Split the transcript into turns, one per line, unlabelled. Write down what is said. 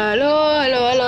Aló, aló, aló.